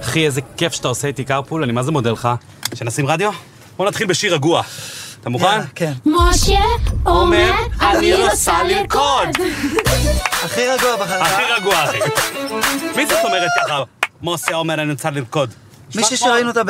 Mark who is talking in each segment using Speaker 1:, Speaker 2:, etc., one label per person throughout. Speaker 1: אחי, איזה כיף שאתה עושה איתי קרפול, אני מה זה מודה לך. שנשים רדיו? בוא נתחיל בשיר רגוע. אתה מוכן?
Speaker 2: יאללה, כן.
Speaker 3: משה אומר, אני רוצה לרקוד.
Speaker 2: הכי רגוע אה, בחרדה.
Speaker 1: הכי רגוע, אחי. מי זאת אומרת ככה? מוסי אומר, אני רוצה לרקוד.
Speaker 2: מישהי שראינו אותה ב...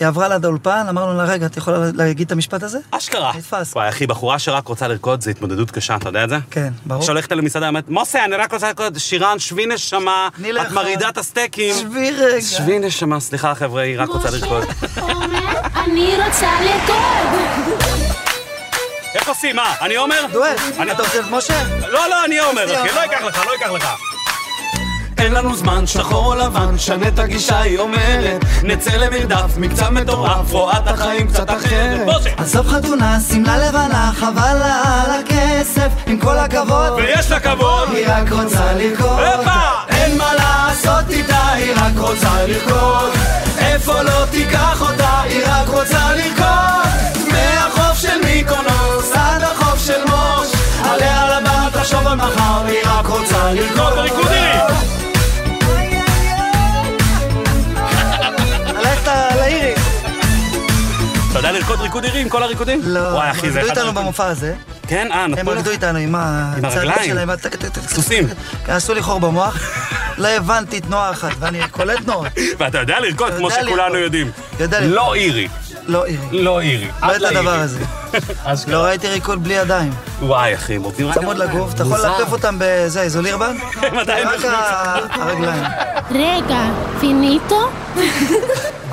Speaker 2: היא עברה ליד האולפן, אמרנו לה, רגע, את יכולה להגיד את המשפט הזה?
Speaker 1: אשכרה.
Speaker 2: נתפס.
Speaker 1: וואי, אחי, בחורה שרק רוצה לרקוד זה התמודדות קשה, אתה יודע את זה?
Speaker 2: כן, ברור.
Speaker 1: שהולכת למסעדה, אומרת, מוסי, אני רק רוצה לרקוד, שירן, שבי נשמה,
Speaker 2: תני
Speaker 1: את
Speaker 2: לאכול."
Speaker 1: מרעידה את הסטייקים.
Speaker 2: שבי רגע.
Speaker 1: שבי נשמה, סליחה, חבר'ה, היא רק רוצה לרקוד.
Speaker 3: משה אומר, אני רוצה לרקוד.
Speaker 1: איך עושים, מה? אני עומר?
Speaker 2: דואט,
Speaker 1: אני-
Speaker 2: אתה רוצה את משה?
Speaker 1: לא, לא, אני עומר,
Speaker 2: עושה,
Speaker 1: אחי,
Speaker 2: אבל-
Speaker 1: לא ייקח לך, לא ייקח לך.
Speaker 4: אין לנו זמן, שחור או לבן, שנה את הגישה, היא אומרת נצא למרדף, מקצב מטורף, רואה את החיים קצת אחרת
Speaker 1: בוא, זה-
Speaker 2: עזוב חתונה, שמלה לבנה, חבל לה על הכסף, עם כל הכבוד.
Speaker 1: ויש לה כבוד.
Speaker 2: היא רק רוצה לרקוד.
Speaker 1: הופה!
Speaker 4: אין מה לעשות איתה, היא רק רוצה לרקוד איפה לא תיקח אותה, היא רק רוצה לרקוד מהחוף של מיקונוס עד החוף של מוש עליה לבא תחשוב על מחר, היא רק רוצה לרקוד
Speaker 1: ריקוד עירי.
Speaker 2: הלכת לאירי.
Speaker 1: אתה יודע לרקוד ריקוד עירי עם כל הריקודים?
Speaker 2: לא,
Speaker 1: וואי, אחי, זה
Speaker 2: הם
Speaker 1: אחד...
Speaker 2: עבדו איתנו
Speaker 1: הריקודים.
Speaker 2: במופע הזה.
Speaker 1: כן, אה,
Speaker 2: הם
Speaker 1: נתנו לך.
Speaker 2: עבדו איתנו עם הצעדים
Speaker 1: הרגליים.
Speaker 2: שלהם. ה- טק, טק, טק, טק,
Speaker 1: סוסים.
Speaker 2: טק. עשו לי חור במוח. לא הבנתי תנועה אחת, ואני קולט תנועות.
Speaker 1: ואתה יודע לרקוד,
Speaker 2: אתה
Speaker 1: כמו
Speaker 2: יודע
Speaker 1: שכולנו
Speaker 2: לרקוד.
Speaker 1: יודעים.
Speaker 2: יודע לרקוד.
Speaker 1: לא אירי.
Speaker 2: לא אירי.
Speaker 1: לא אירי. את
Speaker 2: לא את הדבר
Speaker 1: אירי.
Speaker 2: הזה.
Speaker 1: אשכרה.
Speaker 2: לא ראיתי ריקוד בלי ידיים.
Speaker 1: וואי, אחי, הם עובדים רק...
Speaker 2: צמוד לגוף, אתה יכול לעטוף אותם בזה, איזולירבן?
Speaker 1: הם עדיין
Speaker 2: רק ה- הרגליים.
Speaker 3: רגע, פיניטו?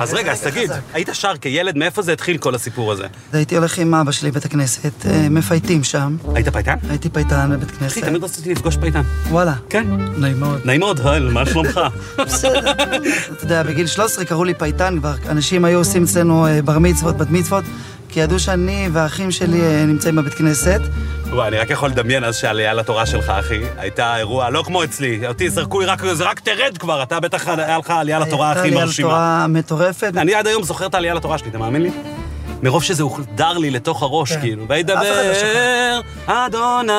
Speaker 1: אז רגע, אז תגיד, היית שר כילד, מאיפה זה התחיל כל הסיפור הזה?
Speaker 2: אז הייתי הולך עם אבא שלי לבית הכנסת, אה, מפייטים שם.
Speaker 1: היית פייטן?
Speaker 2: הייתי פייטן בבית
Speaker 1: אחי,
Speaker 2: כנסת.
Speaker 1: תמיד רציתי לפגוש פייטן.
Speaker 2: וואלה.
Speaker 1: כן.
Speaker 2: נעים מאוד.
Speaker 1: נעים מאוד, הל, מה שלומך?
Speaker 2: בסדר. אתה יודע, בגיל 13 קראו לי פייטן כבר. אנשים היו עושים אצלנו אה, בר מצוות, בת מצוות, כי ידעו שאני והאחים שלי אה, נמצאים בבית כנסת.
Speaker 1: וואי, אני רק יכול לדמיין אז שעלייה לתורה שלך, אחי, הייתה אירוע לא כמו אצלי. אותי זרקו לי רק, זה רק תרד כבר, אתה בטח היה לך עלייה לתורה הכי
Speaker 2: הייתה לי על
Speaker 1: מרשימה.
Speaker 2: תורה מטורפת.
Speaker 1: אני עד היום זוכר את העלייה לתורה שלי, אתה מאמין לי? מרוב שזה הוחדר לי לתוך הראש,
Speaker 2: כן.
Speaker 1: כאילו.
Speaker 2: אף אחד לא
Speaker 1: וידבר אדוני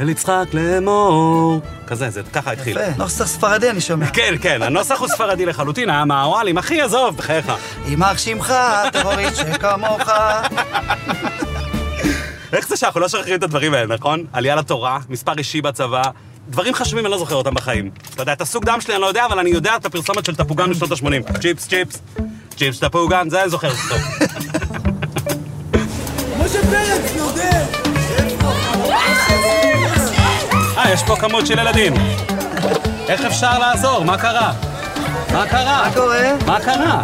Speaker 1: אל יצחק לאמור. כזה, זה ככה התחיל.
Speaker 2: יפה. לא חסר ספרדי, אני שומע.
Speaker 1: כן, כן, הנוסח הוא ספרדי לחלוטין, היה מהוואלים, אחי, עזוב, בחייך.
Speaker 2: יימח שמך, טרוריסט שכמוך.
Speaker 1: איך זה שאנחנו לא שוכחים את הדברים האלה, נכון? עלייה לתורה, מספר אישי בצבא, דברים חשובים, אני לא זוכר אותם בחיים. אתה יודע, את הסוג דם שלי אני לא יודע, אבל אני יודע את הפרסומת של תפוגן משנות ה-80. צ'יפס, צ'יפס, צ'יפס תפוגן, זה אני זוכר טוב. אה, יש פה כמות של ילדים. איך אפשר לעזור? מה קרה? מה קרה?
Speaker 2: מה קורה?
Speaker 1: מה קרה?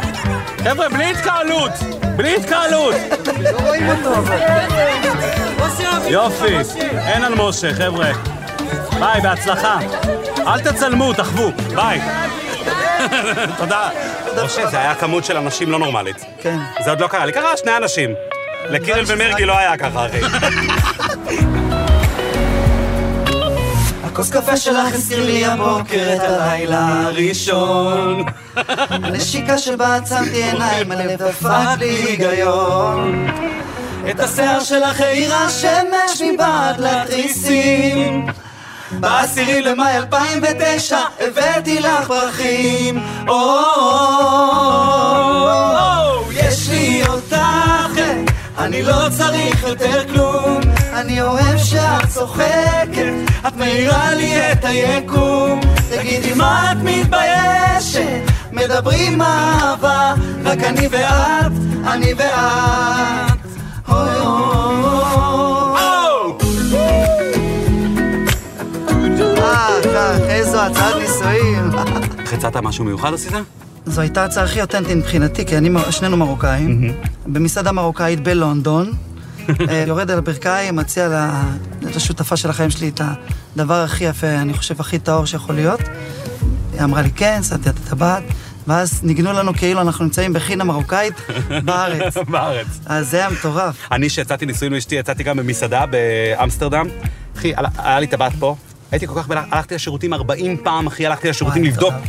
Speaker 1: חבר'ה, בלי התקהלות! בלי התקהלות!
Speaker 2: לא רואים אותו. אבל.
Speaker 1: יופי, אין על משה, חבר'ה. ביי, בהצלחה. אל תצלמו, תחוו. ביי. תודה. משה, זה היה כמות של אנשים לא נורמלית.
Speaker 2: כן.
Speaker 1: זה עוד לא קרה לי. קרה שני אנשים. לקירל ומרגי לא היה ככה, אחי.
Speaker 2: הכוס קפה שלך הזכיר לי הבוקר את הלילה הראשון. הנשיקה שבה עצמתי עיניים, הלב דפק לי היגיון. את השיער שלך העירה שמש מבעד לתריסים. בעשירי למאי 2009 הבאתי לך פרחים. או, או, או, או, יש לי אותך, אה, אני לא צריך יותר כלום. אני אוהב שאת צוחקת, את מאירה לי את היקום. תגידי מה את מתביישת, מדברים אהבה, רק אני ואת, אני ואת. אוי, אוי, אוי. אה, כך, איזו הצעת נישואים.
Speaker 1: איך הצעת משהו מיוחד עשית?
Speaker 2: זו הייתה ההצעה הכי אותנטית מבחינתי, כי אני, מ- שנינו מרוקאים, במסעדה מרוקאית בלונדון, אה, יורד על הברכיים, מציע לה- לשותפה של החיים שלי את הדבר הכי יפה, אני חושב, הכי טהור שיכול להיות. היא אמרה לי, כן, שמתי את הטבעת, ואז ניגנו לנו כאילו אנחנו נמצאים בחינה מרוקאית בארץ.
Speaker 1: בארץ.
Speaker 2: אז זה היה מטורף.
Speaker 1: אני, שיצאתי נישואים לאשתי, יצאתי גם במסעדה באמסטרדם. אחי, עלה- היה לי טבעת פה, הייתי כל כך בלח... הלכתי לשירותים 40 פעם, אחי, הלכתי לשירותים
Speaker 2: וואי,
Speaker 1: לבדוק.
Speaker 2: מטורף.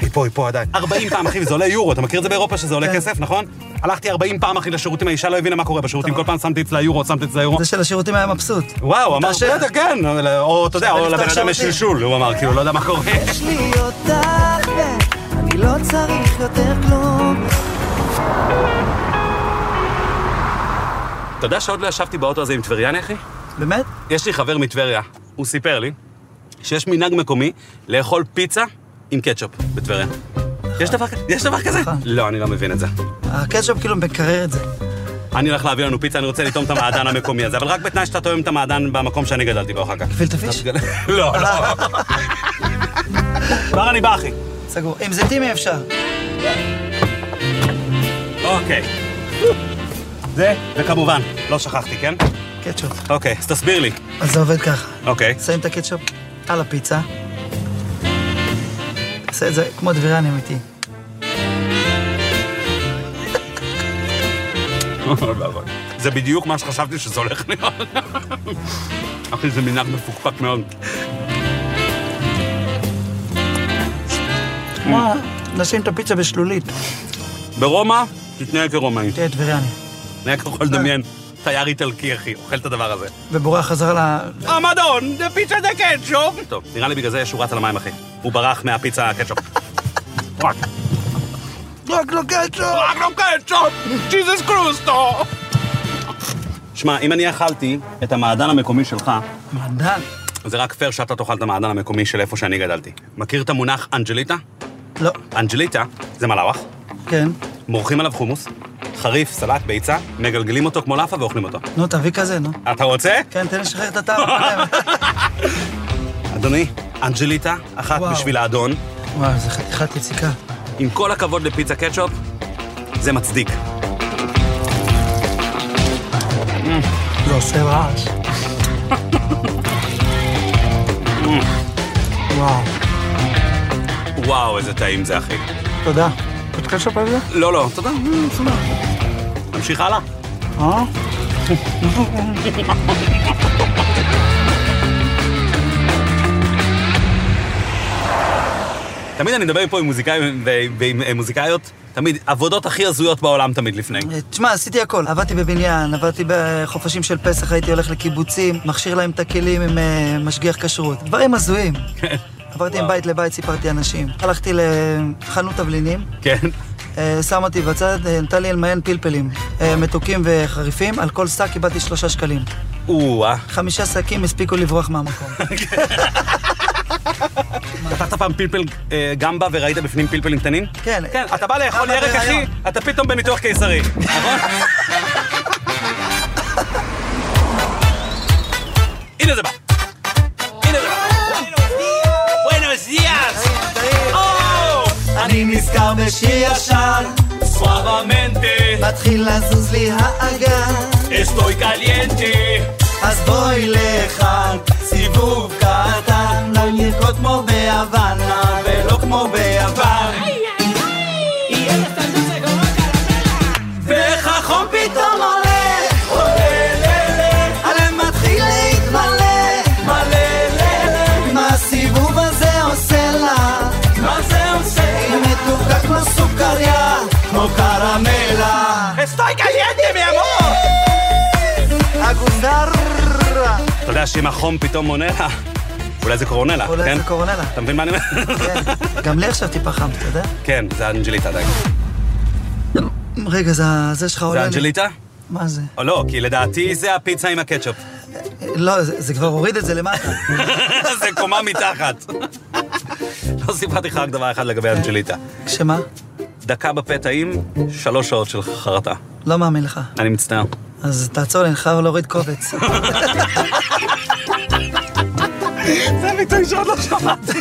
Speaker 1: היא פה, היא פה עדיין. 40 פעם, אחי, וזה עולה יורו, אתה מכיר את זה באירופה שזה עולה
Speaker 2: כן.
Speaker 1: כסף, נכון? הלכתי 40 פעם, אחי, לשירותים, האישה לא הבינה מה קורה בשירותים, כל פעם שמתי אצלה יורו, שמתי אצלה יורו.
Speaker 2: זה של השירותים היה מבסוט.
Speaker 1: וואו, אמר,
Speaker 2: תרשה.
Speaker 1: בטח, כן, או אתה יודע, או
Speaker 2: שווה
Speaker 1: לבן
Speaker 2: לפתוח
Speaker 1: אדם יש
Speaker 2: שירותים.
Speaker 1: שלשול, הוא אמר, כאילו, לא יודע מה קורה.
Speaker 2: יש לי אותך, אה, לא צריך יותר כלום.
Speaker 1: אתה יודע שעוד לא ישבתי באוטו הזה עם טבריאן, אחי?
Speaker 2: באמת?
Speaker 1: יש לי חבר מטבריה, הוא סיפר לי שיש מנהג מקומי לאכול פיצה עם קטשופ בטבריה. יש דבר כזה? יש דבר כזה?
Speaker 2: נכון.
Speaker 1: לא, אני לא מבין את זה.
Speaker 2: הקטשופ כאילו מקרר את זה.
Speaker 1: אני הולך להביא לנו פיצה, אני רוצה לטעום את המעדן המקומי הזה, אבל רק בתנאי שאתה טועם את המעדן במקום שאני גדלתי בו אחר כך.
Speaker 2: גפילטע פיש?
Speaker 1: לא, לא. כבר אני בא, אחי.
Speaker 2: סגור. עם זיתים אי אפשר.
Speaker 1: אוקיי. זה, וכמובן, לא שכחתי, כן?
Speaker 2: קטשופ.
Speaker 1: אוקיי, אז תסביר לי.
Speaker 2: אז זה עובד ככה.
Speaker 1: אוקיי.
Speaker 2: שמים את הקטשופ על הפיצה. עושה את זה כמו דבירן אמיתי.
Speaker 1: זה בדיוק מה שחשבתי שזה הולך להיות. אחי, זה מנהג מפוקפק מאוד.
Speaker 2: כמו נשים את הפיצה בשלולית.
Speaker 1: ברומא, תתנהג כרומאי.
Speaker 2: תהיה דבירני.
Speaker 1: אני רק יכול לדמיין תייר איטלקי, אחי, אוכל את הדבר הזה.
Speaker 2: ובורח חזרה ל...
Speaker 1: המדון, זה פיצה דה קטשופ! טוב, נראה לי בגלל זה שהוא רץ על המים, אחי. הוא ברח מהפיצה הקטשופ. רק,
Speaker 2: רק לא קטשופ!
Speaker 1: רק לא קטשופ! ג'יזוס קרוסטו! שמע, אם אני אכלתי את המעדן המקומי שלך,
Speaker 2: מדען.
Speaker 1: זה רק פייר שאתה תאכל את המעדן המקומי של איפה שאני גדלתי. מכיר את המונח אנג'ליטה?
Speaker 2: לא.
Speaker 1: אנג'ליטה זה מלאווח,
Speaker 2: כן.
Speaker 1: מורחים עליו חומוס, חריף, סלט, ביצה, מגלגלים אותו כמו לאפה ואוכלים אותו.
Speaker 2: נו, תביא כזה, נו.
Speaker 1: אתה רוצה?
Speaker 2: כן, תן לי לשחרר את הטעם. הקודם.
Speaker 1: אדוני, אנג'ליטה, אחת
Speaker 2: וואו.
Speaker 1: בשביל האדון.
Speaker 2: וואו, זה חתיכת יציקה.
Speaker 1: עם כל הכבוד לפיצה קטשופ, זה מצדיק.
Speaker 2: זה עושה רעש. וואו.
Speaker 1: וואו, איזה טעים זה, אחי.
Speaker 2: תודה. עוד קטשופ על זה?
Speaker 1: לא, לא, תודה, אה, תודה. נמשיך הלאה.
Speaker 2: אה?
Speaker 1: תמיד אני מדבר פה עם מוזיקאים ו- ועם אה, מוזיקאיות, תמיד, עבודות הכי הזויות בעולם תמיד לפני.
Speaker 2: תשמע, עשיתי הכל. עבדתי בבניין, עבדתי בחופשים של פסח, הייתי הולך לקיבוצים, מכשיר להם את הכלים עם אה, משגיח כשרות. דברים הזויים. עברתי עם
Speaker 1: וואו.
Speaker 2: בית לבית, סיפרתי אנשים. הלכתי לחנות תבלינים,
Speaker 1: כן.
Speaker 2: אה, שם אותי בצד, אה, נתן לי למיין פלפלים אה, מתוקים וחריפים, על כל שק קיבלתי שלושה שקלים.
Speaker 1: או-אה.
Speaker 2: חמישה שקים הספיקו לברוח מהמקום.
Speaker 1: פתחת פעם פלפל אה, גמבה וראית בפנים פלפלים קטנים?
Speaker 2: כן.
Speaker 1: כן, אתה בא לאכול
Speaker 2: למה
Speaker 1: ירק, אחי,
Speaker 2: בהיריון?
Speaker 1: אתה פתאום בניתוח קיסרי, נכון? הנה זה בא. הנה זה בא. בואנוס דיאס! Oh!
Speaker 2: אני נזכר בשיר ישן,
Speaker 1: Suavemente,
Speaker 2: מתחיל לזוז לי האגן,
Speaker 1: estoy caliente.
Speaker 2: אז בואי לכאן, סיבוב קטן, לא נרקוד כמו בהוואנה, ולא כמו ביוון. ואיך החום פתאום עולה, עולה ללה, הלב מתחיל להתמלא, מלא ללה, מה הסיבוב הזה עושה לה? מה זה עושה? היא מתוקה כמו סוכריה, כמו קרמלה.
Speaker 1: Estoy caliente, mi amor!
Speaker 2: אגוזרה.
Speaker 1: אתה יודע שאם החום פתאום עונה לה, אולי זה קורונלה,
Speaker 2: אולי
Speaker 1: כן?
Speaker 2: זה קורונלה.
Speaker 1: אתה מבין מה אני אומר?
Speaker 2: כן. גם לי עכשיו טיפה חם, אתה יודע?
Speaker 1: כן, זה אנג'ליטה עדיין.
Speaker 2: רגע, זה זה שלך עולה
Speaker 1: זה
Speaker 2: לי.
Speaker 1: אנג'ליטה?
Speaker 2: מה זה?
Speaker 1: או לא, כי לדעתי זה הפיצה עם הקטשופ.
Speaker 2: לא, זה זה כבר הוריד את זה למטה.
Speaker 1: זה קומה מתחת. לא סיפרתי לך רק דבר אחד לגבי
Speaker 2: כן.
Speaker 1: אנג'ליטה.
Speaker 2: שמה?
Speaker 1: דקה בפה טעים, שלוש שעות של חרטה.
Speaker 2: לא מאמין לך.
Speaker 1: אני מצטער.
Speaker 2: אז תעצור לי, אני חייב להוריד קובץ.
Speaker 1: זה ביטוי שעוד לא שמעתי.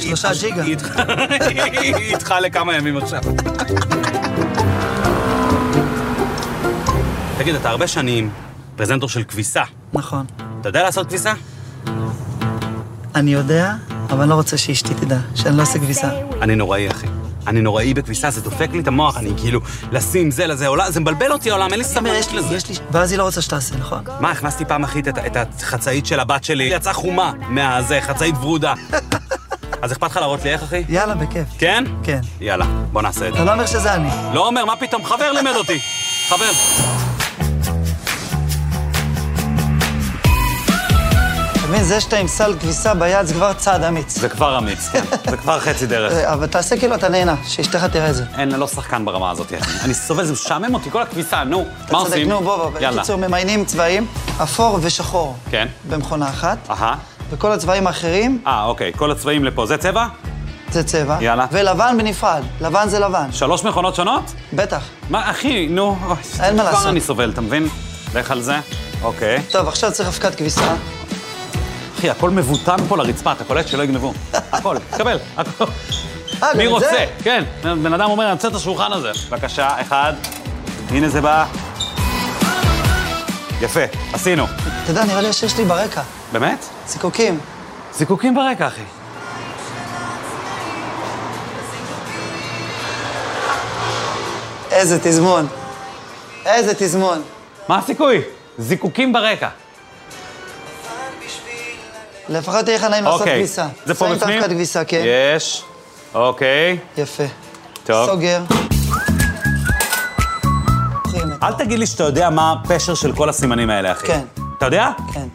Speaker 2: שלושה ג'יגה.
Speaker 1: היא איתך- היא איתך לכמה ימים עכשיו. תגיד, אתה הרבה שנים פרזנטור של כביסה.
Speaker 2: נכון.
Speaker 1: אתה יודע לעשות כביסה?
Speaker 2: אני יודע, אבל אני לא רוצה שאשתי תדע שאני לא עושה כביסה.
Speaker 1: אני נוראי, אחי. אני נוראי בכביסה, זה דופק לי את המוח, אני כאילו, לשים זה לזה עולם, זה מבלבל אותי העולם, אין לי סמר, יש לזה.
Speaker 2: יש לי... ואז היא לא רוצה שתעשה, נכון?
Speaker 1: מה, הכנסתי פעם אחת את, את החצאית של הבת שלי, יצאה חומה מהזה, חצאית ורודה. אז אכפת לך להראות לי איך, אחי?
Speaker 2: יאללה, בכיף.
Speaker 1: כן?
Speaker 2: כן.
Speaker 1: יאללה, בוא נעשה את זה.
Speaker 2: אתה לא אומר שזה אני.
Speaker 1: לא אומר, מה פתאום? חבר לימד אותי. חבר.
Speaker 2: מבין, זה שאתה עם סל כביסה ביד זה כבר צעד אמיץ.
Speaker 5: זה כבר אמיץ, כן. זה כבר חצי דרך.
Speaker 2: אה, אבל תעשה כאילו אתה נהנה, שאשתך תראה את זה.
Speaker 5: אין, אני לא שחקן ברמה הזאת. אני סובל, זה משעמם אותי, כל הכביסה, נו. מה
Speaker 2: צודק,
Speaker 5: עושים?
Speaker 2: נו, בוא, בוא.
Speaker 5: יאללה.
Speaker 2: בקיצור, ממיינים צבעים, אפור ושחור.
Speaker 5: כן.
Speaker 2: במכונה אחת.
Speaker 5: אהה.
Speaker 2: וכל הצבעים האחרים
Speaker 5: אה, אוקיי, כל הצבעים לפה. זה צבע?
Speaker 2: זה צבע.
Speaker 5: יאללה.
Speaker 2: ולבן בנפרד. לבן זה לבן.
Speaker 5: שלוש מכונות שונות?
Speaker 2: בטח.
Speaker 5: מה, אחי, נו. אוי,
Speaker 2: אין מה לעשות.
Speaker 5: כבר אני סובל, אתה מבין? לך על זה. אוקיי.
Speaker 2: טוב, עכשיו צריך אבקת כביסה. אה,
Speaker 5: אחי, הכל מבוטן פה לרצפה, אתה קולט שלא יגנבו. הכל, תקבל, הכל.
Speaker 2: אה, גם
Speaker 5: מי
Speaker 2: את
Speaker 5: רוצה?
Speaker 2: זה?
Speaker 5: כן, בן אדם אומר, אני רוצה את השולחן הזה. בבקשה, אחד. הנה זה בא. יפה, עשינו.
Speaker 2: אתה יודע, נראה לי השיר שלי ברקע.
Speaker 5: באמת?
Speaker 2: זיקוקים.
Speaker 5: זיקוקים ברקע, אחי.
Speaker 2: איזה תזמון. איזה תזמון.
Speaker 5: מה הסיכוי? זיקוקים ברקע.
Speaker 2: לפחות תהיה לך נעים לעשות
Speaker 5: אוקיי.
Speaker 2: כביסה.
Speaker 5: זה פה בפנים?
Speaker 2: שמים את האבקת כביסה, כן.
Speaker 5: יש. אוקיי,
Speaker 2: יפה.
Speaker 5: טוב.
Speaker 2: סוגר.
Speaker 5: אל תגיד לי שאתה יודע מה הפשר של כל הסימנים האלה, אחי.
Speaker 2: כן.
Speaker 5: אתה יודע?
Speaker 2: כן.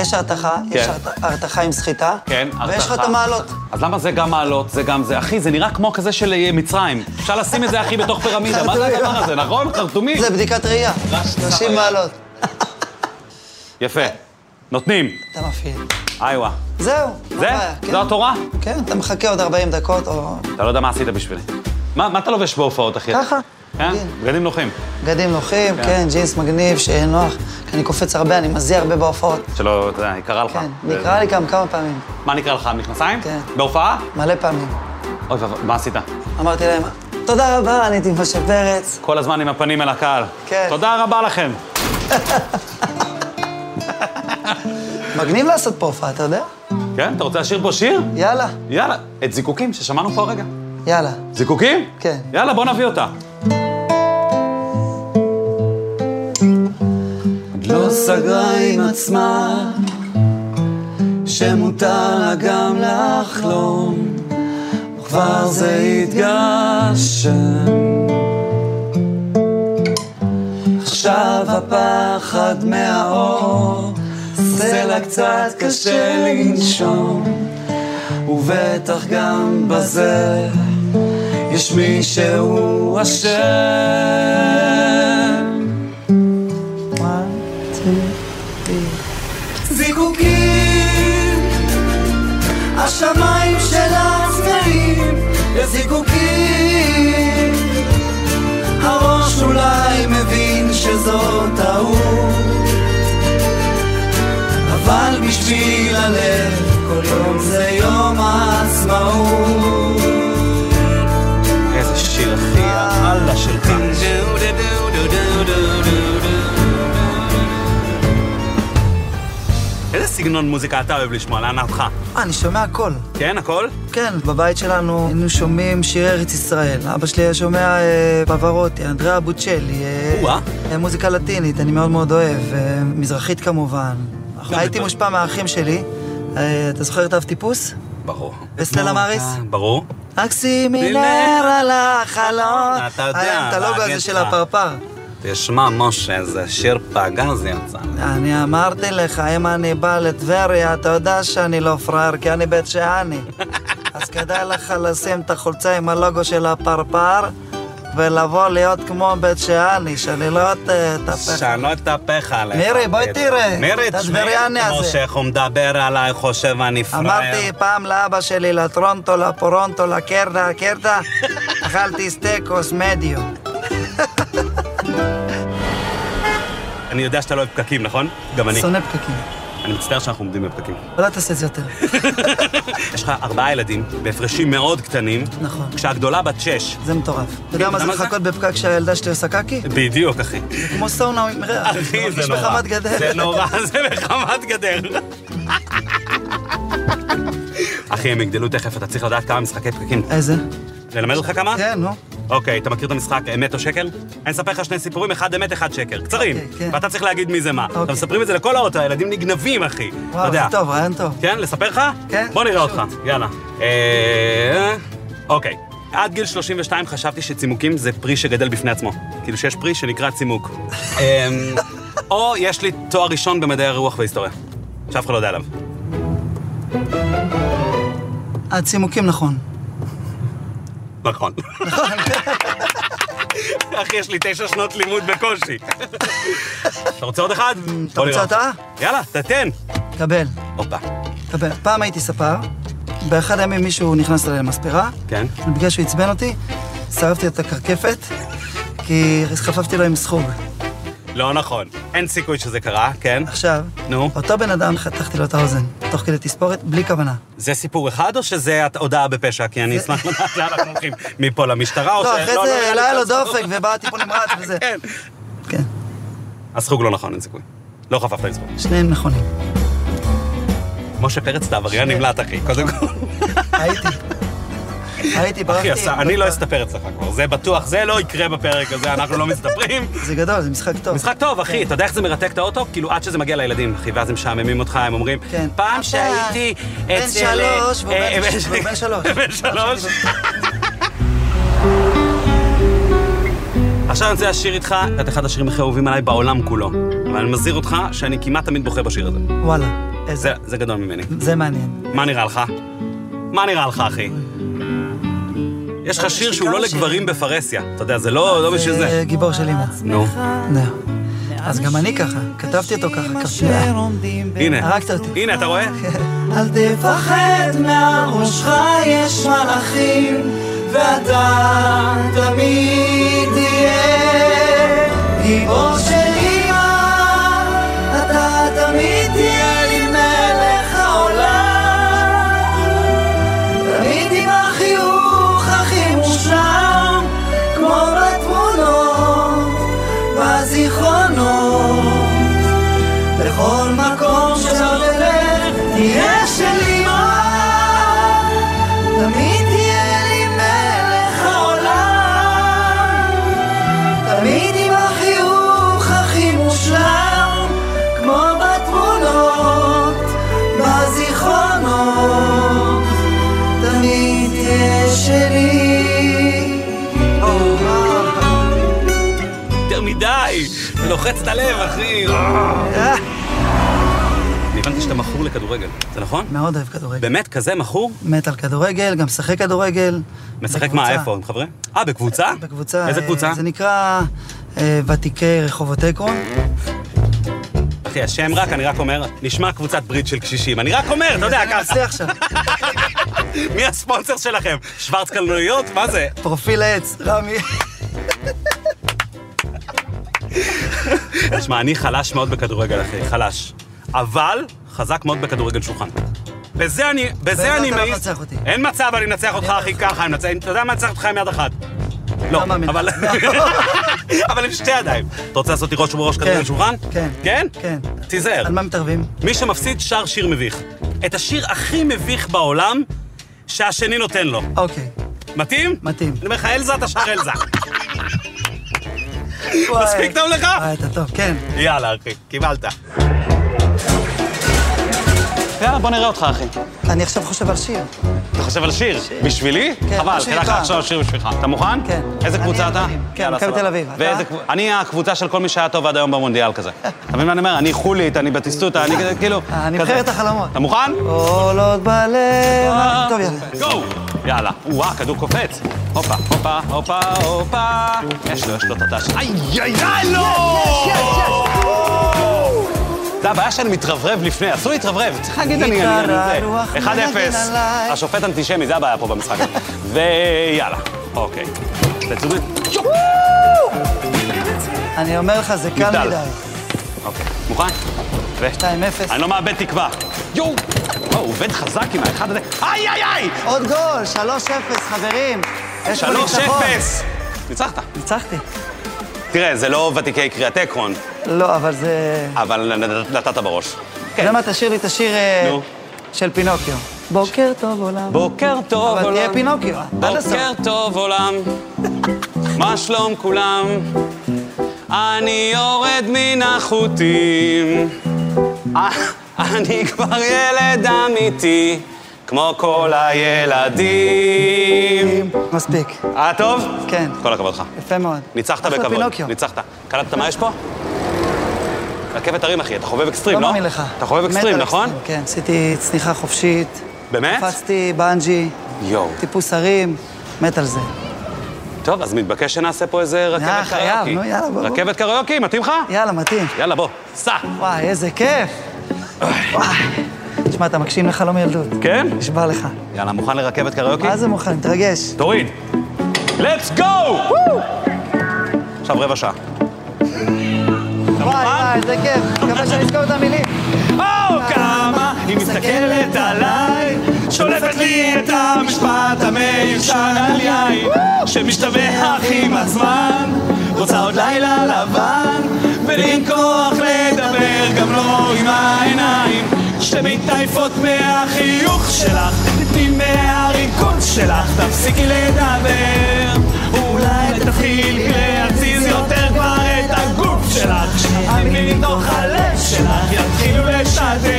Speaker 2: יש הרתחה, יש
Speaker 5: כן.
Speaker 2: הרת- הרתחה עם סחיטה.
Speaker 5: כן,
Speaker 2: ויש לך
Speaker 5: הרתחה.
Speaker 2: את המעלות.
Speaker 5: אז למה זה גם מעלות, זה גם זה? אחי, זה נראה כמו כזה של אה, מצרים. אפשר לשים את זה, אחי, בתוך פירמידה. מה זה
Speaker 2: חרטומים.
Speaker 5: הדבר הזה, נכון? חרטומים.
Speaker 2: זה בדיקת ראייה.
Speaker 5: חוויה.
Speaker 2: 30 מעלות.
Speaker 5: יפה. נותנים.
Speaker 2: אתה מפעיל.
Speaker 5: איווה.
Speaker 2: זהו.
Speaker 5: זה? לא, זו התורה?
Speaker 2: אה, כן, אתה מחכה עוד 40 דקות או...
Speaker 5: אתה לא יודע מה עשית בשבילי. מה מה אתה לובש בהופעות, אחי?
Speaker 2: ככה.
Speaker 5: כן?
Speaker 2: בגדים.
Speaker 5: בגדים נוחים.
Speaker 2: בגדים נוחים, כן, ג'ינס מגניב, שיהיה נוח. כי אני קופץ הרבה, אני מזיע הרבה בהופעות.
Speaker 5: שלא, אתה יודע, יקרה
Speaker 1: אה,
Speaker 5: לך.
Speaker 2: כן, נקרא לי גם כמה פעמים,
Speaker 5: מה נקרא לך, מכנסיים?
Speaker 2: כן.
Speaker 5: בהופעה?
Speaker 2: מלא פעמים.
Speaker 5: אוי ואבוי, מה עשית?
Speaker 2: אמרתי להם, תודה רבה, אני הייתי משה פרץ.
Speaker 5: כל הזמן עם הפנים אל הקהל.
Speaker 2: כן.
Speaker 5: תודה רבה לכם.
Speaker 2: מגניב לעשות פה הופעה, אתה יודע?
Speaker 5: כן? אתה רוצה לשיר פה שיר?
Speaker 2: יאללה,
Speaker 5: יאללה. את זיקוקים ששמענו פה הרגע.
Speaker 2: יאללה.
Speaker 5: זיקוקים?
Speaker 2: כן.
Speaker 5: יאללה, בוא נביא אותה.
Speaker 2: לא סגרה עם עצמה שמותר לה גם לחלום וכבר זה התגשם עכשיו הפחד מהאור עושה לה קצת קשה לנשום ובטח גם בזה יש מישהו אשם
Speaker 4: זיקוקים, השמיים של הצבעים לזיקוקים. הראש אולי מבין שזו טעות, אבל בשביל הלב כל יום זה יום העצמאות.
Speaker 1: איזה שיר, אחי, האללה שלך.
Speaker 2: אה,
Speaker 1: איזה סגנון מוזיקה אתה אוהב לשמוע, להנאתך?
Speaker 2: אה, אני שומע הכל.
Speaker 1: כן, הכל?
Speaker 2: כן, בבית שלנו היינו שומעים שירי ארץ ישראל. אבא שלי היה שומע אה, פברוטי, אנדריאה בוצ'לי. אה,
Speaker 1: או-אה.
Speaker 2: אה, מוזיקה לטינית, אני מאוד מאוד אוהב. אה, מזרחית כמובן. הייתי
Speaker 1: בטח.
Speaker 2: מושפע מהאחים שלי. אה, אתה זוכר את האב טיפוס?
Speaker 1: ברור.
Speaker 2: וסטלה מאריס?
Speaker 1: ברור.
Speaker 2: אקסימילר
Speaker 1: מילר.
Speaker 2: על החלון. אה,
Speaker 1: אתה יודע,
Speaker 2: היה את הלוגו
Speaker 1: והגט
Speaker 2: הזה של
Speaker 1: שלך.
Speaker 2: הפרפר.
Speaker 1: תשמע, משה, זה שיר פגז יצא.
Speaker 2: אני אמרתי לך, אם אני בא לטבריה, אתה יודע שאני לא פראייר, כי אני בית שאני. אז כדאי לך לשים את החולצה עם הלוגו של הפרפר, ולבוא להיות כמו בית שאני, שאני לא ת- אתהפך.
Speaker 1: שאני לא אתהפך עליך.
Speaker 2: מירי, בואי תראה.
Speaker 1: מירי,
Speaker 2: את
Speaker 1: תשמעי
Speaker 2: הטבריאני
Speaker 1: כמו
Speaker 2: הזה.
Speaker 1: שאיך הוא מדבר עליי, חושב אני פראייר.
Speaker 2: אמרתי פעם לאבא שלי, לטרונטו, לפורונטו, לקרדה, הקרדה, אכלתי סטייק מדיו.
Speaker 1: אני יודע שאתה לא אוהב פקקים, נכון? גם אני.
Speaker 2: שונא פקקים.
Speaker 1: אני מצטער שאנחנו עומדים בפקקים.
Speaker 2: אבל לא תעשה את זה יותר.
Speaker 1: יש לך ארבעה ילדים, בהפרשים מאוד קטנים.
Speaker 2: נכון.
Speaker 1: כשהגדולה בת שש.
Speaker 2: זה מטורף. אתה יודע מה זה
Speaker 1: למה זה?
Speaker 2: לחכות בפקק כשהילדה שלי עושה קקי?
Speaker 1: בדיוק, אחי.
Speaker 2: כמו סאונה עם ריח.
Speaker 1: אחי, זה
Speaker 2: מרגיש
Speaker 1: נורא.
Speaker 2: בחמת גדר.
Speaker 1: זה נורא, זה בחמת גדר. אחי, הם יגדלו תכף, אתה צריך לדעת כמה משחקי פקקים.
Speaker 2: איזה?
Speaker 1: ללמד אותך כמה?
Speaker 2: כן, נו.
Speaker 1: אוקיי, אתה מכיר את המשחק אמת או שקר? אני אספר לך שני סיפורים, אחד אמת, אחד שקר. קצרים.
Speaker 2: אוקיי, כן.
Speaker 1: ואתה צריך להגיד מי זה מה.
Speaker 2: אוקיי.
Speaker 1: אתה מספרים את זה לכל האוטו, הילדים נגנבים, אחי. אתה
Speaker 2: וואו,
Speaker 1: יודע.
Speaker 2: זה טוב, רעיון טוב.
Speaker 1: כן, לספר לך?
Speaker 2: כן,
Speaker 1: בוא נראה
Speaker 2: פשוט.
Speaker 1: אותך, יאללה. אה, אוקיי. עד גיל 32 חשבתי שצימוקים זה פרי שגדל בפני עצמו. כאילו שיש פרי שנקרא צימוק. אמ, או יש לי תואר ראשון במדעי הרוח והיסטוריה, שאף אחד לא יודע עליו.
Speaker 2: הצימוקים נכון.
Speaker 1: נכון. אחי, יש לי תשע שנות לימוד בקושי. אתה רוצה עוד אחד?
Speaker 2: אתה רוצה אתה?
Speaker 1: יאללה, תתן.
Speaker 2: קבל.
Speaker 1: הופה.
Speaker 2: קבל. פעם הייתי ספר, באחד הימים מישהו נכנס אליי למספרה,
Speaker 1: כן.
Speaker 2: ובגלל שהוא עצבן אותי, שרפתי את הקרקפת, כי חפפתי לו עם סחוג.
Speaker 1: לא נכון. אין סיכוי שזה קרה, כן?
Speaker 2: עכשיו,
Speaker 1: נו.
Speaker 2: אותו בן אדם, חתכתי לו את האוזן, תוך כדי תספורת, בלי כוונה.
Speaker 1: זה סיפור אחד, או שזה הת- הודעה בפשע? כי אני אשמח לדעת לאן אנחנו הולכים. מפה למשטרה, או ש...
Speaker 2: לא, אחרי זה
Speaker 1: נראה
Speaker 2: לא היה לו
Speaker 1: שזה-
Speaker 2: דופק, ובא טיפול נמרץ וזה.
Speaker 1: כן.
Speaker 2: כן,
Speaker 1: הסחוג לא נכון, אין סיכוי. לא חפפת עם סחוג.
Speaker 2: שניהם נכונים.
Speaker 1: משה פרץ, אתה עבריין נמלט, אחי. קודם כל.
Speaker 2: הייתי. הייתי, ברחתי.
Speaker 1: אחי, עשה- אני לא אסתפר אצלך כבר. זה בטוח, זה לא יקרה בפרק הזה, אנחנו לא מסתפרים.
Speaker 2: זה גדול, זה משחק טוב.
Speaker 1: משחק טוב,
Speaker 2: כן.
Speaker 1: אחי, אתה יודע איך זה מרתק את האוטו? כאילו, עד שזה מגיע לילדים, אחי, ואז הם משעממים אותך, הם אומרים,
Speaker 2: כן.
Speaker 1: פעם
Speaker 2: אתה
Speaker 1: שהייתי אצל...
Speaker 2: בן שלוש, והוא
Speaker 1: אה,
Speaker 2: בן-
Speaker 1: אה,
Speaker 2: והוא בן שלוש.
Speaker 1: בן שלוש. עכשיו אני רוצה לשיר איתך את אחד השירים הכי אהובים עליי בעולם כולו. אבל אני מזהיר אותך שאני כמעט תמיד בוכה בשיר הזה.
Speaker 2: וואלה, איזה.
Speaker 1: זה- זה גדול ממני.
Speaker 2: זה מעניין.
Speaker 1: מה נראה לך? מה נראה לך, אחי? יש לך שיר שהוא לא
Speaker 2: אה, כמה שירים.
Speaker 1: לגברים בפרסיה. אתה יודע, זה לא לא בשביל זה.
Speaker 2: אה, גיבור של אימא.
Speaker 1: נו,
Speaker 2: זהו. אז גם אני ככה, כתבתי אותו ככה, ככה.
Speaker 1: הנה.
Speaker 2: הרגת אותי.
Speaker 1: הנה, אתה רואה?
Speaker 2: אל תפחד מהראשך יש מלאכים ואתה תמיד תהיה גיבור של אמא אתה תמיד תהיה לי מלך העולם תמיד עם החיוך הכי מושלם כמו בתמונות בזיכרונות בכל מקום שלא תלך, תהיה של אמא. תמיד תהיה לי מלך העולם. תמיד עם החיוך הכי מושלם, כמו בתמונות, בזיכרונות. תמיד תהיה שלי.
Speaker 1: יותר מדי! זה לוחץ את הלב, אחי! אני הבנתי שאתה מכור לכדורגל, זה נכון?
Speaker 2: מאוד אוהב כדורגל.
Speaker 1: באמת, כזה מכור?
Speaker 2: מת על כדורגל, גם משחק כדורגל.
Speaker 1: משחק מה,
Speaker 2: בקבוצה.
Speaker 1: איפה, עם חברים? אה, בקבוצה?
Speaker 2: בקבוצה.
Speaker 1: איזה
Speaker 2: אה,
Speaker 1: קבוצה?
Speaker 2: זה נקרא אה, ותיקי רחובות אקרון.
Speaker 1: אחי, השם רק, אני רק אומר, נשמע קבוצת ברית של קשישים. אני רק אומר, אתה יודע,
Speaker 2: אני
Speaker 1: ככה.
Speaker 2: מנסה עכשיו.
Speaker 1: מי הספונסר שלכם? שוורץ קלנועיות? מה זה?
Speaker 2: פרופיל עץ, רמי.
Speaker 1: תשמע, אני חלש מאוד בכדורגל, אחי, חלש. אבל חזק מאוד בכדורגל שולחן. בזה אני, בזה
Speaker 2: בזה
Speaker 1: אני
Speaker 2: אתה לא
Speaker 1: מעיז...
Speaker 2: מנצח אותי.
Speaker 1: אין מצב, אני מנצח אותך, אחי, ככה, אני מנצח... אתה יודע מה, אני מנצח אותך עם יד אחת. לא,
Speaker 2: מאמין.
Speaker 1: אבל... אבל עם שתי ידיים. אתה רוצה לעשות לי ראש ובראש כדורגל שולחן?
Speaker 2: כן.
Speaker 1: כן?
Speaker 2: כן.
Speaker 1: תיזהר.
Speaker 2: על מה מתערבים?
Speaker 1: מי שמפסיד שר שיר מביך. את השיר הכי מביך בעולם, שהשני נותן לו.
Speaker 2: אוקיי.
Speaker 1: מתאים?
Speaker 2: מתאים.
Speaker 1: אני אומר לך, אלזה, אתה שר אלזה.
Speaker 2: וואי.
Speaker 1: מספיק טוב לך?
Speaker 2: אה, אתה טוב, כן.
Speaker 1: יאללה, אחי, קיבלת.
Speaker 5: יאללה, בוא נראה אותך, אחי.
Speaker 2: אני עכשיו חושב על שיר.
Speaker 5: אתה חושב על שיר? בשבילי?
Speaker 2: כן,
Speaker 5: חבל,
Speaker 2: מה
Speaker 5: תדע לך
Speaker 2: שנקרא.
Speaker 5: עכשיו על שיר בשבילך. אתה מוכן?
Speaker 2: כן.
Speaker 5: איזה
Speaker 2: אני
Speaker 5: קבוצה
Speaker 2: עם
Speaker 5: אתה?
Speaker 2: הפנים. כן,
Speaker 5: יאללה,
Speaker 2: מכבי
Speaker 5: סבבה.
Speaker 2: תל אביב. אתה?
Speaker 5: ואיזה קב- אני הקבוצה של כל מי שהיה טוב עד היום במונדיאל כזה. אתה מבין מה אני אומר? אני חולית, אני בטיסטוטה, אני כזה, כאילו...
Speaker 2: אה, נבחרת
Speaker 5: כזה.
Speaker 2: החלומות.
Speaker 5: אתה מוכן?
Speaker 2: עולות בלב.
Speaker 5: אה,
Speaker 1: אה.
Speaker 2: טוב, יאללה.
Speaker 5: גו! יאללה. וואה, כדור קופץ. הופה, הופה, הופה, הופה. יש לו, יש לו את הטאש. איי, איי, איי, לא! זה הבעיה שאני מתרברב לפני, אסור להתרברב. צריך להגיד אני אני- אני
Speaker 2: הרוח
Speaker 5: זה. 1-0.
Speaker 2: מנגן עליי.
Speaker 5: השופט אנטישמי, זה הבעיה פה במשחק הזה. ויאללה. אוקיי. Let's do it. יו!
Speaker 2: אני אומר לך, זה קל
Speaker 5: נבדל.
Speaker 2: מדי.
Speaker 5: אוקיי. מוכן? ו-
Speaker 2: 2-0.
Speaker 5: אני לא מאבד תקווה. יואו! וואו, הוא עובד חזק עם האחד הזה. איי, איי, איי!
Speaker 2: עוד גול, 3-0, חברים. יש פה
Speaker 5: 3-0!
Speaker 2: ניצחון.
Speaker 5: ניצחת.
Speaker 2: ניצחתי.
Speaker 5: תראה, זה לא ותיקי קריאת עקרון,
Speaker 2: לא, אבל זה...
Speaker 5: אבל נתת בראש.
Speaker 1: אוקיי.
Speaker 2: אתה יודע מה, תשאיר לי את השיר אה,
Speaker 5: נו.
Speaker 2: של פינוקיו. בוקר טוב עולם.
Speaker 5: בוקר טוב
Speaker 2: אבל
Speaker 5: עולם.
Speaker 2: תהיה פינוקיו, עד הסוף.
Speaker 5: בוקר טוב עולם, מה שלום כולם? אני יורד מן החוטים, אה, אני כבר ילד אמיתי, כמו כל הילדים.
Speaker 2: מספיק.
Speaker 5: אה, טוב?
Speaker 2: כן.
Speaker 5: כל הכבוד לך.
Speaker 2: יפה מאוד.
Speaker 5: ניצחת
Speaker 2: אחלה
Speaker 5: בכבוד.
Speaker 2: פינוקיו.
Speaker 5: ניצחת. קלטת מה יש פה?
Speaker 1: רכבת הרים, אחי, אתה חובב אקסטרים,
Speaker 2: לא
Speaker 1: לא?
Speaker 2: מאמין לך.
Speaker 1: אתה חובב
Speaker 2: מת
Speaker 1: אקסטרים,
Speaker 2: על
Speaker 1: נכון?
Speaker 2: אקסטרים, כן, עשיתי צניחה חופשית.
Speaker 1: באמת?
Speaker 2: קפצתי בנג'י,
Speaker 1: יואו.
Speaker 2: טיפוס הרים, מת על זה.
Speaker 1: טוב, אז מתבקש שנעשה פה איזה רכבת
Speaker 2: חייב,
Speaker 1: קריוקי.
Speaker 2: נו, יאללה, בוא, בוא.
Speaker 1: רכבת קריוקי, מתאים לך?
Speaker 2: יאללה, מתאים.
Speaker 1: יאללה, בוא, סע.
Speaker 2: וואי, איזה כיף. וואי. תשמע, אתה מגשים לחלום ילדות.
Speaker 1: כן?
Speaker 2: נשבע לך.
Speaker 1: יאללה, מוכן לרכבת קריוקי?
Speaker 2: מה זה מוכן? מתרגש.
Speaker 1: תוריד. לטס גו! עכשיו רבע שעה.
Speaker 2: וואי, וואי, זה כיף. מקווה שאני אזכור את המילים.
Speaker 1: או, כמה היא מסתכלת עליי, שולפת לי את המשפט המיושן על יין, שמשתבח עם הזמן, רוצה עוד לילה לבן, ואין כוח לדבר גם לא עם העיניים, שמתעייפות מהחיוך שלך, מהריקוד שלך, תפסיקי לדבר, אולי תתחיל להתזיז יותר כבר את הגוף שלך, אני מתוך הלב שלך יתחילו לשדר.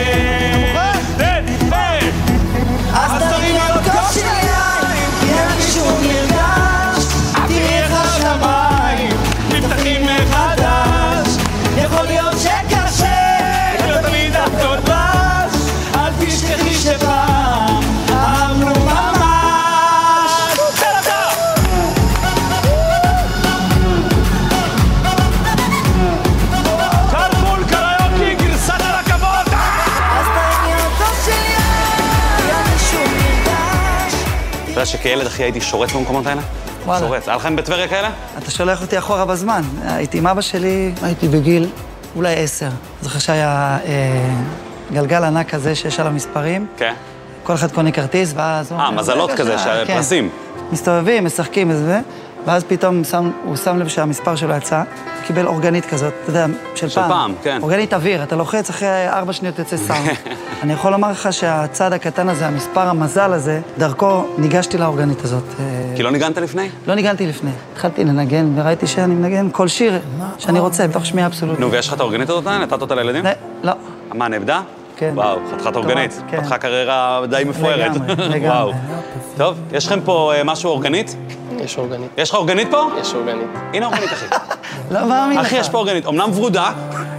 Speaker 1: תן, תן.
Speaker 2: אז תרים על הכוס של היין, יהיה לי שום נרגש. תראי איך השמיים
Speaker 1: נפתחים מחדש,
Speaker 2: יכול להיות שקשה.
Speaker 1: לא תמיד את קודש, אל תשכחי שפעם אמרו ממש. תן אותה! תרבול קריוקי, גרסת הרכבות!
Speaker 2: אז תרים על הכוס של יין, יהיה לי שום נרגש.
Speaker 1: אתה יודע שכילד אחי הייתי שורץ במקומות האלה?
Speaker 2: וואלה.
Speaker 1: שורץ. היה לכם בטבריה כאלה?
Speaker 2: אתה שולח אותי אחורה בזמן. הייתי עם אבא שלי, הייתי בגיל אולי עשר. זוכר שהיה אה, גלגל ענק כזה שיש עליו מספרים.
Speaker 1: כן.
Speaker 2: כל אחד קונה כרטיס, ואז... הוא
Speaker 1: אה,
Speaker 2: אומר,
Speaker 1: מזלות
Speaker 2: "רגע,
Speaker 1: כזה,
Speaker 2: שנייה", כן.
Speaker 1: שפרסים.
Speaker 2: מסתובבים, משחקים וזה, ואז פתאום שם, הוא שם לב שהמספר שלו יצא, קיבל אורגנית כזאת, אתה יודע, של פעם.
Speaker 1: פעם, כן.
Speaker 2: אורגנית אוויר, אתה לוחץ, אחרי ארבע שניות יוצא סאונד. אני יכול לומר לך שהצעד הקטן הזה, המספר המזל הזה, דרכו ניגשתי לאורגנית הזאת. אה,
Speaker 1: כי לא ניגנת לפני?
Speaker 2: לא ניגנתי לפני. התחלתי לנגן, וראיתי שאני מנגן כל שיר שאני רוצה, בתוך שמיעה אבסולוטית.
Speaker 1: נו, ויש לך את האורגנית הזאת? נתת אותה לילדים?
Speaker 2: לא.
Speaker 1: מה, נאבדה?
Speaker 2: כן.
Speaker 1: וואו, חתיכת אורגנית.
Speaker 2: כן.
Speaker 1: פתחה קריירה די מפוארת.
Speaker 2: לגמרי, לגמרי.
Speaker 1: וואו. טוב, יש לכם פה אה, משהו אורגנית?
Speaker 6: יש אורגנית.
Speaker 1: יש לך אורגנית פה?
Speaker 6: יש אורגנית.
Speaker 1: הנה אורגנית, אחי.
Speaker 2: לא מאמין לך.
Speaker 1: אחי, יש פה אורגנית. אמנם ורודה,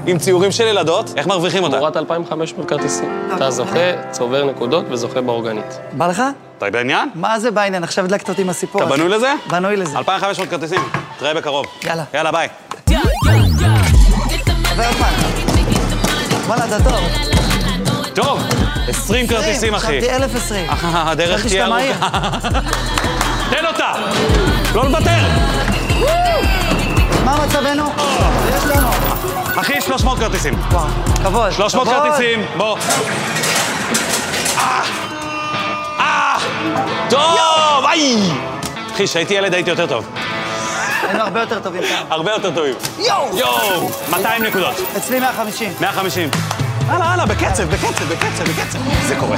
Speaker 1: עם ציורים של ילדות, איך מרוויחים אותה?
Speaker 6: תמורת 2,500 כרטיסים. אתה זוכה, צובר נקודות וזוכה באורגנית.
Speaker 2: בא לך?
Speaker 1: אתה בעניין?
Speaker 2: מה זה בעניין? עכשיו הדלקת אותי עם הסיפור
Speaker 1: אתה
Speaker 2: הזה.
Speaker 1: בנוי לזה?
Speaker 2: בנוי לזה.
Speaker 1: 2,500 כרטיסים, תראה בקרוב.
Speaker 2: יאללה.
Speaker 1: יאללה, ביי.
Speaker 2: חבר הזמן. וואלה, אתה טוב.
Speaker 1: טוב, 20 כרטיסים, אחי.
Speaker 2: חשבתי אלף עשרים.
Speaker 1: אה, הדרך
Speaker 2: חשבתי
Speaker 1: תהיה
Speaker 2: שאתה מהיר.
Speaker 1: ארוכה. תן אותה! לא לוותר!
Speaker 2: מה מצבנו? יש לנו.
Speaker 1: אחי, 300 כרטיסים.
Speaker 2: וואו, כבוד.
Speaker 1: 300
Speaker 2: כבוד.
Speaker 1: כרטיסים, בוא. אה, אה, טוב, איי! אחי, כשהייתי ילד הייתי יותר טוב.
Speaker 2: היינו הרבה יותר טובים כאן.
Speaker 1: הרבה יותר טובים.
Speaker 2: יואו!
Speaker 1: יואו! 200 נקודות,
Speaker 2: אצלי 150.
Speaker 1: 150. הלאה, הלאה, בקצב, בקצב, בקצב, בקצב. זה קורה.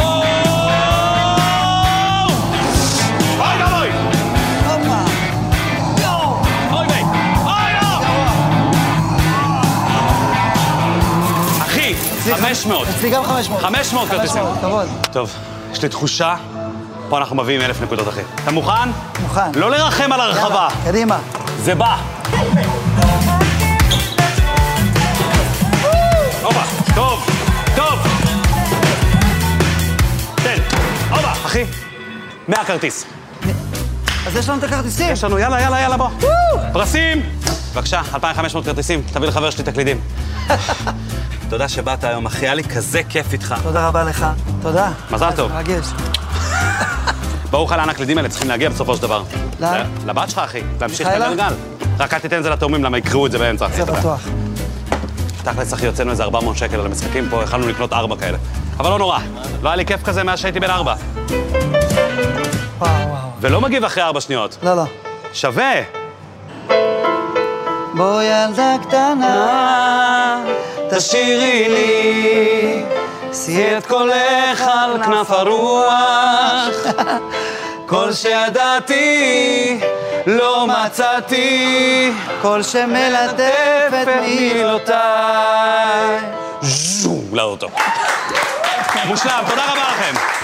Speaker 1: או! אוי ואבוי!
Speaker 2: הופה. יואו!
Speaker 1: אוי ואי! אוי לא! אחי,
Speaker 2: אצלי
Speaker 1: 500.
Speaker 2: אצלי גם 500.
Speaker 1: 500 כרטיסים.
Speaker 2: 500, כבוד.
Speaker 1: טוב, יש לי תחושה, פה אנחנו מביאים אלף נקודות אחי. אתה מוכן?
Speaker 2: מוכן.
Speaker 1: לא לרחם על הרחבה,
Speaker 2: יאללה, קדימה.
Speaker 1: זה בא. הופה, טוב, טוב. תן, הופה, אחי, 100 כרטיס.
Speaker 2: אז יש לנו את הכרטיסים.
Speaker 1: יש לנו, יאללה, יאללה, יאללה, בוא. פרסים! בבקשה, 2,500 כרטיסים, תביא לחבר שלי תקלידים. תודה שבאת היום, אחי, היה לי כזה כיף איתך.
Speaker 2: תודה רבה לך. תודה.
Speaker 1: מזל טוב.
Speaker 2: מרגש.
Speaker 1: ברור לך לאן הקלידים האלה צריכים להגיע בסופו של דבר.
Speaker 2: לאן?
Speaker 1: ל- לבת שלך, אחי. להמשיך את
Speaker 2: מיכאלה?
Speaker 1: הגלגל. רק אל תיתן את זה לתאומים, למה יקראו את זה באמצע. אחי,
Speaker 2: זה
Speaker 1: אתה יודע.
Speaker 2: בטוח.
Speaker 1: תכלס, אחי, הוצאנו איזה 400 שקל על המשחקים פה, יכלנו לקנות ארבע כאלה. אבל לא נורא, לא היה לי כיף כזה מאז שהייתי בן ארבע.
Speaker 2: וואו, וואו.
Speaker 1: ולא מגיב אחרי ארבע שניות.
Speaker 2: לא, לא.
Speaker 1: שווה!
Speaker 2: בוא ילדה
Speaker 1: אה?
Speaker 2: קטנה,
Speaker 1: תשאירי לי
Speaker 2: שיאי את
Speaker 1: קולך על כנף הרוח, כל שידעתי לא מצאתי,
Speaker 2: כל שמלטף את מילות...
Speaker 1: מילותיי. זום, להעלות אותו. מושלם, תודה רבה לכם.